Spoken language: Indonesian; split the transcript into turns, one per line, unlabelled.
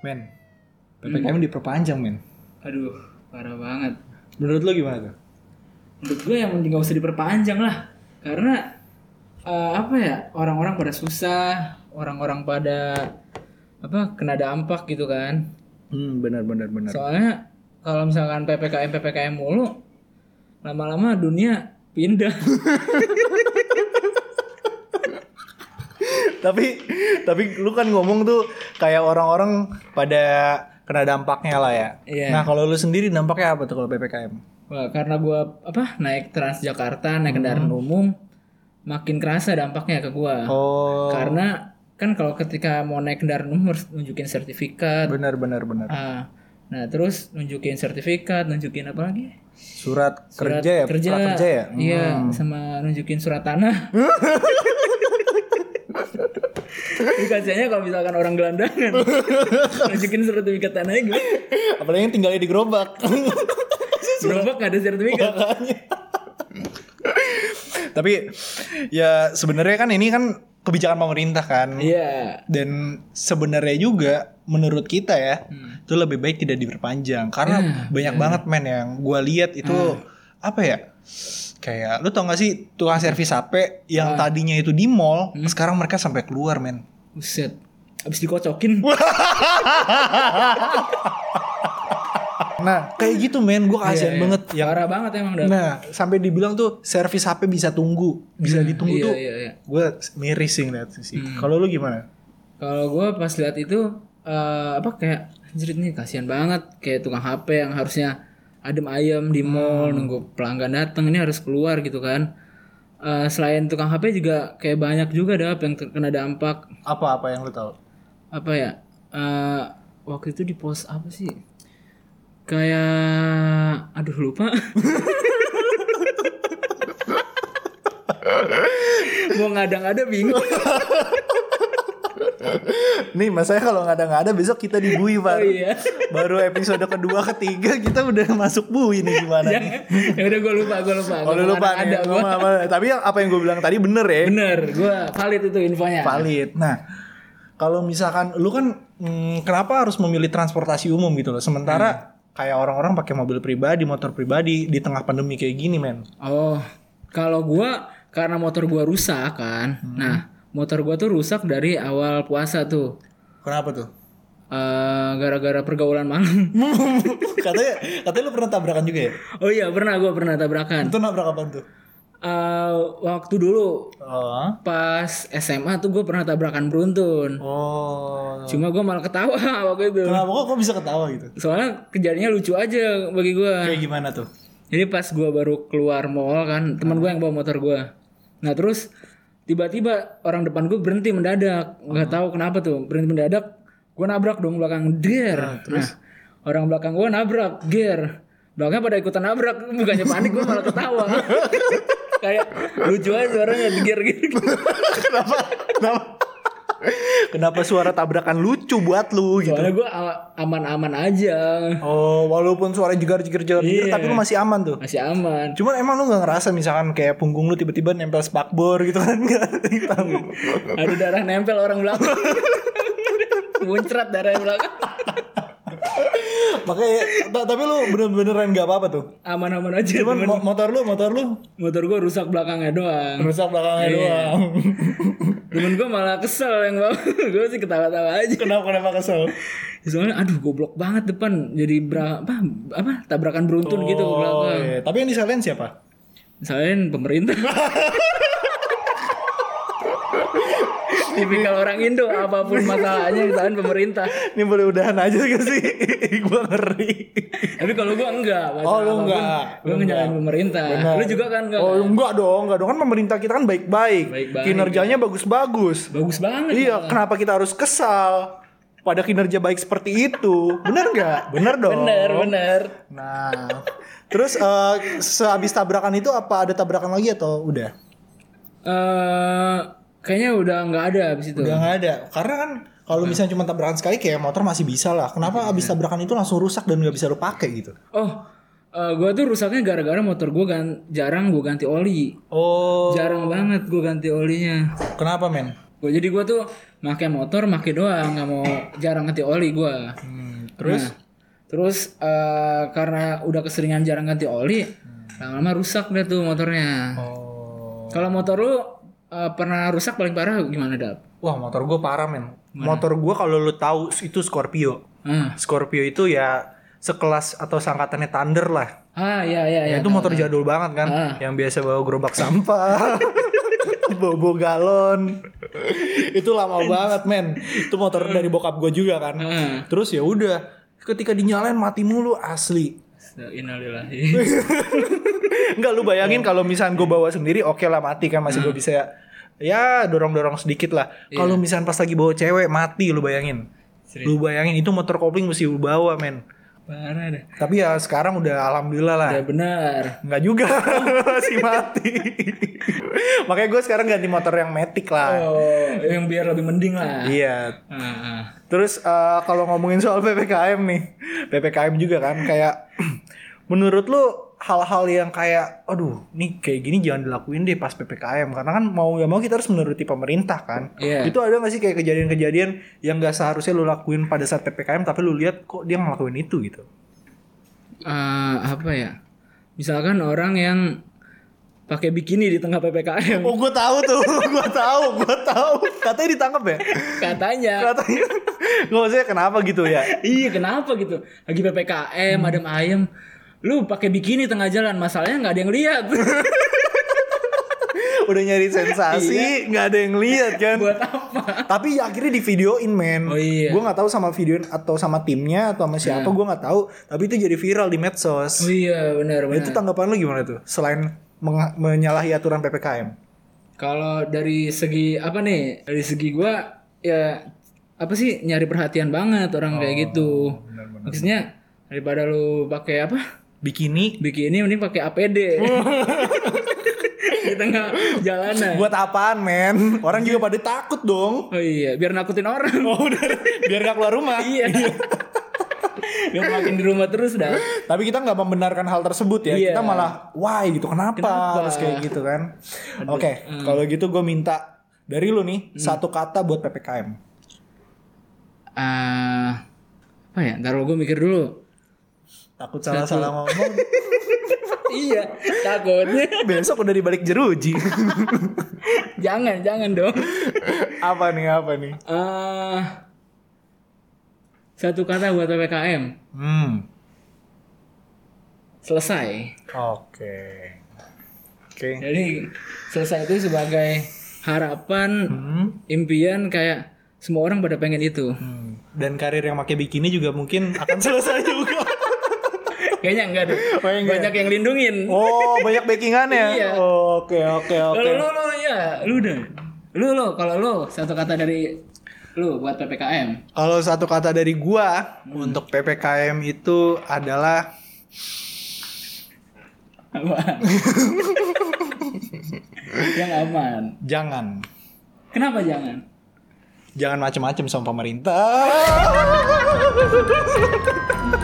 Men, PPKM diperpanjang, men.
Aduh, parah banget.
Menurut lo gimana tuh?
Menurut gue yang penting gak usah diperpanjang lah. Karena eh, apa ya? Orang-orang pada susah, orang-orang pada apa? kena dampak gitu kan.
Hmm, benar benar benar.
Soalnya kalau misalkan PPKM PPKM mulu lama-lama dunia pindah.
tapi tapi lu kan ngomong tuh kayak orang-orang pada kena dampaknya lah ya.
Iya.
Nah, kalau lu sendiri dampaknya apa tuh kalau PPKM?
Wah, karena gua apa? naik Transjakarta, naik kendaraan umum makin kerasa dampaknya ke gua.
Oh,
Karena kan kalau ketika mau naik kendaraan umum harus nunjukin sertifikat.
benar benar benar.
Ah, nah, terus nunjukin sertifikat, nunjukin apa lagi?
Surat,
Surat
kerja ya, surat kerja ya.
Iya, sama nunjukin surat tanah. Dikasihnya kalau misalkan orang gelandangan nunjukin sertifikat gitu. tanahnya gimana?
Apalagi yang tinggalnya di gerobak.
Gerobak nggak ada sertifikat.
tapi ya sebenarnya kan ini kan kebijakan pemerintah kan.
Iya.
Dan sebenarnya juga menurut kita ya, itu lebih baik tidak diperpanjang karena banyak banget men yang gua lihat itu apa ya? Kayak lu tau gak sih tukang servis HP yang tadinya itu di mall, sekarang mereka sampai keluar men.
Buset. Abis dikocokin.
Nah, kayak gitu men, gua kasihan banget
Ya. Parah banget emang dah.
Nah, sampai dibilang tuh servis HP bisa tunggu, bisa ditunggu
iya,
tuh.
iya, iya.
Gue miris sih ngeliat sih. Kalau lu gimana?
Kalau gue pas lihat itu eh, apa kayak anjir ini kasihan banget kayak tukang HP yang harusnya adem ayem
Hmm.
di mall nunggu pelanggan datang ini harus keluar gitu kan. Eh, selain tukang HP juga kayak banyak juga dah yang terkena dampak
Apa-apa yang lu tahu?
apa ya? eh, waktu itu di post apa sih? Kayak aduh lupa. Mau ngada-ngada bingung.
Nih, masanya kalau nggak ada nggak ada besok kita dibui pak.
iya.
Baru episode kedua ketiga kita udah masuk bui nih gimana? nih?
ya udah gue lupa gue lupa
Kalau
Gua
Oh, lu lupa
ada-
nih,
ada gue
Apa- apa- tapi yang apa yang gue bilang tadi bener ya,
bener gue valid itu infonya
valid. Nah, kalau misalkan lu kan hmm, kenapa harus memilih transportasi umum gitu loh?
Hmm.
Sementara kayak orang-orang pakai mobil pribadi, motor pribadi di tengah pandemi kayak gini men.
oh kalau gue karena motor gue rusak kan
Hmm.
nah motor gue tuh rusak dari awal puasa tuh
Kenapa tuh?
Eh, gara-gara pergaulan malam
katanya katanya lu pernah tabrakan juga ya?
oh iya pernah gue pernah tabrakan
Itu nabrak apa tuh?
Eh, waktu dulu
Oh.
pas SMA tuh gue pernah tabrakan beruntun
Oh.
cuma gue malah ketawa waktu itu
Kenapa kok kok bisa ketawa gitu?
soalnya kejadiannya lucu aja bagi gue
Kayak gimana tuh?
Jadi pas gua baru keluar mall kan, teman gua yang bawa motor gua. Nah, terus tiba-tiba orang depan gua berhenti mendadak. nggak tahu kenapa tuh, berhenti mendadak. Gua nabrak dong belakang der. Nah, orang belakang gua nabrak ger. Belakangnya pada ikutan nabrak, bukannya panik gua malah ketawa. Kayak lucu aja suaranya diger gitu.
kenapa? Kenapa? kenapa suara tabrakan lucu buat lu gitu?
Soalnya gua a- aman-aman aja.
Oh, walaupun suara jegar jegar jegar, jegar,
Iya.
tapi lu masih aman tuh.
Masih aman.
Cuman emang lu nggak ngerasa misalkan kayak punggung lu tiba-tiba nempel spakbor gitu kan? Nggak tahu.
Ada darah nempel orang belakang. Muncrat darah yang belakang.
Makanya, ta- tapi lu bener-beneran nggak apa-apa tuh.
Aman-aman aja.
Cuman mo- motor lu, motor lu
motor gue rusak belakangnya doang
rusak belakangnya doang.
temen gue malah kesel yang bawa gue sih ketawa-tawa aja Ya,
kenapa kenapa kesel?
soalnya aduh goblok banget depan jadi berapa apa, apa tabrakan beruntun gitu ke
Oh,
belakang
iya. Tapi yang disalahin siapa?
misalnya pemerintah tipikal orang Indo apapun masalahnya misalnya pemerintah
Ini boleh udahan aja gak sih? Gua ngeri.
tapi kalau gue enggak
Oh, lu enggak.
gue nyalain pemerintah lu juga kan enggak
Oh enggak dong, enggak dong kan pemerintah kita kan baik-baik,
Baik-baik.
kinerjanya bagus-bagus.
bagus banget
Iya, kenapa kita harus kesal pada kinerja baik seperti itu? Bener nggak? Bener dong.
bener bener
Nah, terus eh, sehabis tabrakan itu apa ada tabrakan lagi atau udah?
Eh, kayaknya udah nggak ada abis itu
Udah nggak ada, karena kan kalau misalnya cuma tabrakan sekali kayak motor masih bisa lah. Kenapa abis tabrakan itu langsung rusak dan nggak bisa lu pakai gitu?
Oh, eh gue tuh rusaknya gara-gara motor gue gan jarang gue ganti oli.
Oh,
Jarang banget gue ganti olinya.
kenapa men?
Gua jadi gua tuh make motor make doang nggak mau jarang ganti oli gua.
Hmm, terus
Nah, terus eh, karena udah keseringan jarang ganti oli, lama-lama rusak deh tuh
Hmm.
motornya.
oh
Kalau motor lu eh, pernah rusak paling parah gimana dap?
wah motor gue parah men motor gue kalau lu tahu itu Scorpio
Ah,
Scorpio itu ya sekelas atau sangkatannya Thunder lah
ah ya ya
Ya,
ya.
itu motor jadul banget kan,
Ah.
yang biasa bawa gerobak sampah, bobo galon. itu lama banget men. Itu motor dari bokap gue juga kan.
Ah,
Terus ya udah, ketika dinyalain mati mulu asli.
innalillahi.
Enggak lu bayangin kalau misalnya gue bawa sendiri, oke lah mati kan masih
Hmm.
gue bisa ya dorong-dorong sedikit lah. Kalau misalnya pas lagi bawa cewek mati lu bayangin.
Iya. Serius.
Lu bayangin itu motor kopling mesti lu bawa men.
parah deh.
Tapi ya sekarang udah alhamdulillah lah.
Ya benar.
Enggak juga masih mati. Makanya gue sekarang ganti motor yang matic lah.
Oh, yang biar lebih mending lah.
Iya.
Ah, ah.
Terus eh, kalau ngomongin soal ppkm nih, ppkm juga kan kayak menurut lu hal-hal yang kayak, aduh, nih kayak gini jangan dilakuin deh pas ppkm karena kan mau nggak mau kita harus menuruti pemerintah kan.
Iya.
Itu ada nggak sih kayak kejadian-kejadian yang nggak seharusnya lu lakuin pada saat ppkm tapi lu lihat kok dia ngelakuin itu gitu.
Eh, apa ya? Misalkan orang yang pakai bikini di tengah PPKM
Oh, gue tahu tuh, gue tahu, gue tahu. Iya. Katanya ditangkap ya.
katanya.
katanya nggak maksudnya kenapa gitu ya
iya, kenapa gitu? Lagi PPKM, adem ayem. Lu pakai bikini tengah jalan, masalahnya nggak ada yang lihat.
udah nyari sensasi nggak ada yang lihat kan
Iya. Buat apa?
tapi ya, akhirnya di videoin men
Oh, iya. Hmm.
gue nggak tahu sama videoin atau sama timnya atau sama siapa gue nggak tahu tapi itu jadi viral di medsos
Oh iya, benar
Nah, itu
benar.
tanggapan lu gimana tuh selain meng- menyalahi aturan ppkm
Kalau dari segi apa nih? Dari segi gua ya apa sih nyari perhatian banget orang kayak gitu. Maksudnya daripada lu pakai apa?
bikini
Bikini mending pakai APD. di tengah jalanan.
buat apaan men orang
Iya.
juga pada takut dong
Oh iya, biar nakutin orang.
Oh, biar gak keluar rumah
iya. Biar makin di rumah terus dah.
tapi kita nggak membenarkan hal tersebut ya
Iya.
kita malah why gitu kenapa,
Kenapa? Hmm.
harus kayak gitu kan oke kalau gitu gue minta dari lu nih satu kata buat ppkm
Eh, apa ya? Ntar gue mikir dulu.
takut salah salah ngomong
iya, takutnya.
Eh, besok udah dibalik jeruji
jangan, jangan dong.
apa nih apa nih
Eh satu kata buat PPKM.
hmm
Selesai.
oke oke
Jadi selesai itu sebagai harapan,
Hmm.
impian kayak semua orang pada pengen itu.
Hmm. dan karir yang pakai bikini juga mungkin akan selesai juga
Kayaknya enggak deh.
Oh, enggak.
Banyak yang lindungin.
oh banyak backingannya
Iya.
oke oke oke
Kalau lu, lu, ya, lu deh. Lu, lu, kalau lu, satu kata dari lu buat PPKM.
Kalau satu kata dari gua untuk PPKM itu adalah
Apa? yang aman.
jangan
Kenapa jangan?
jangan macem-macem sama pemerintah.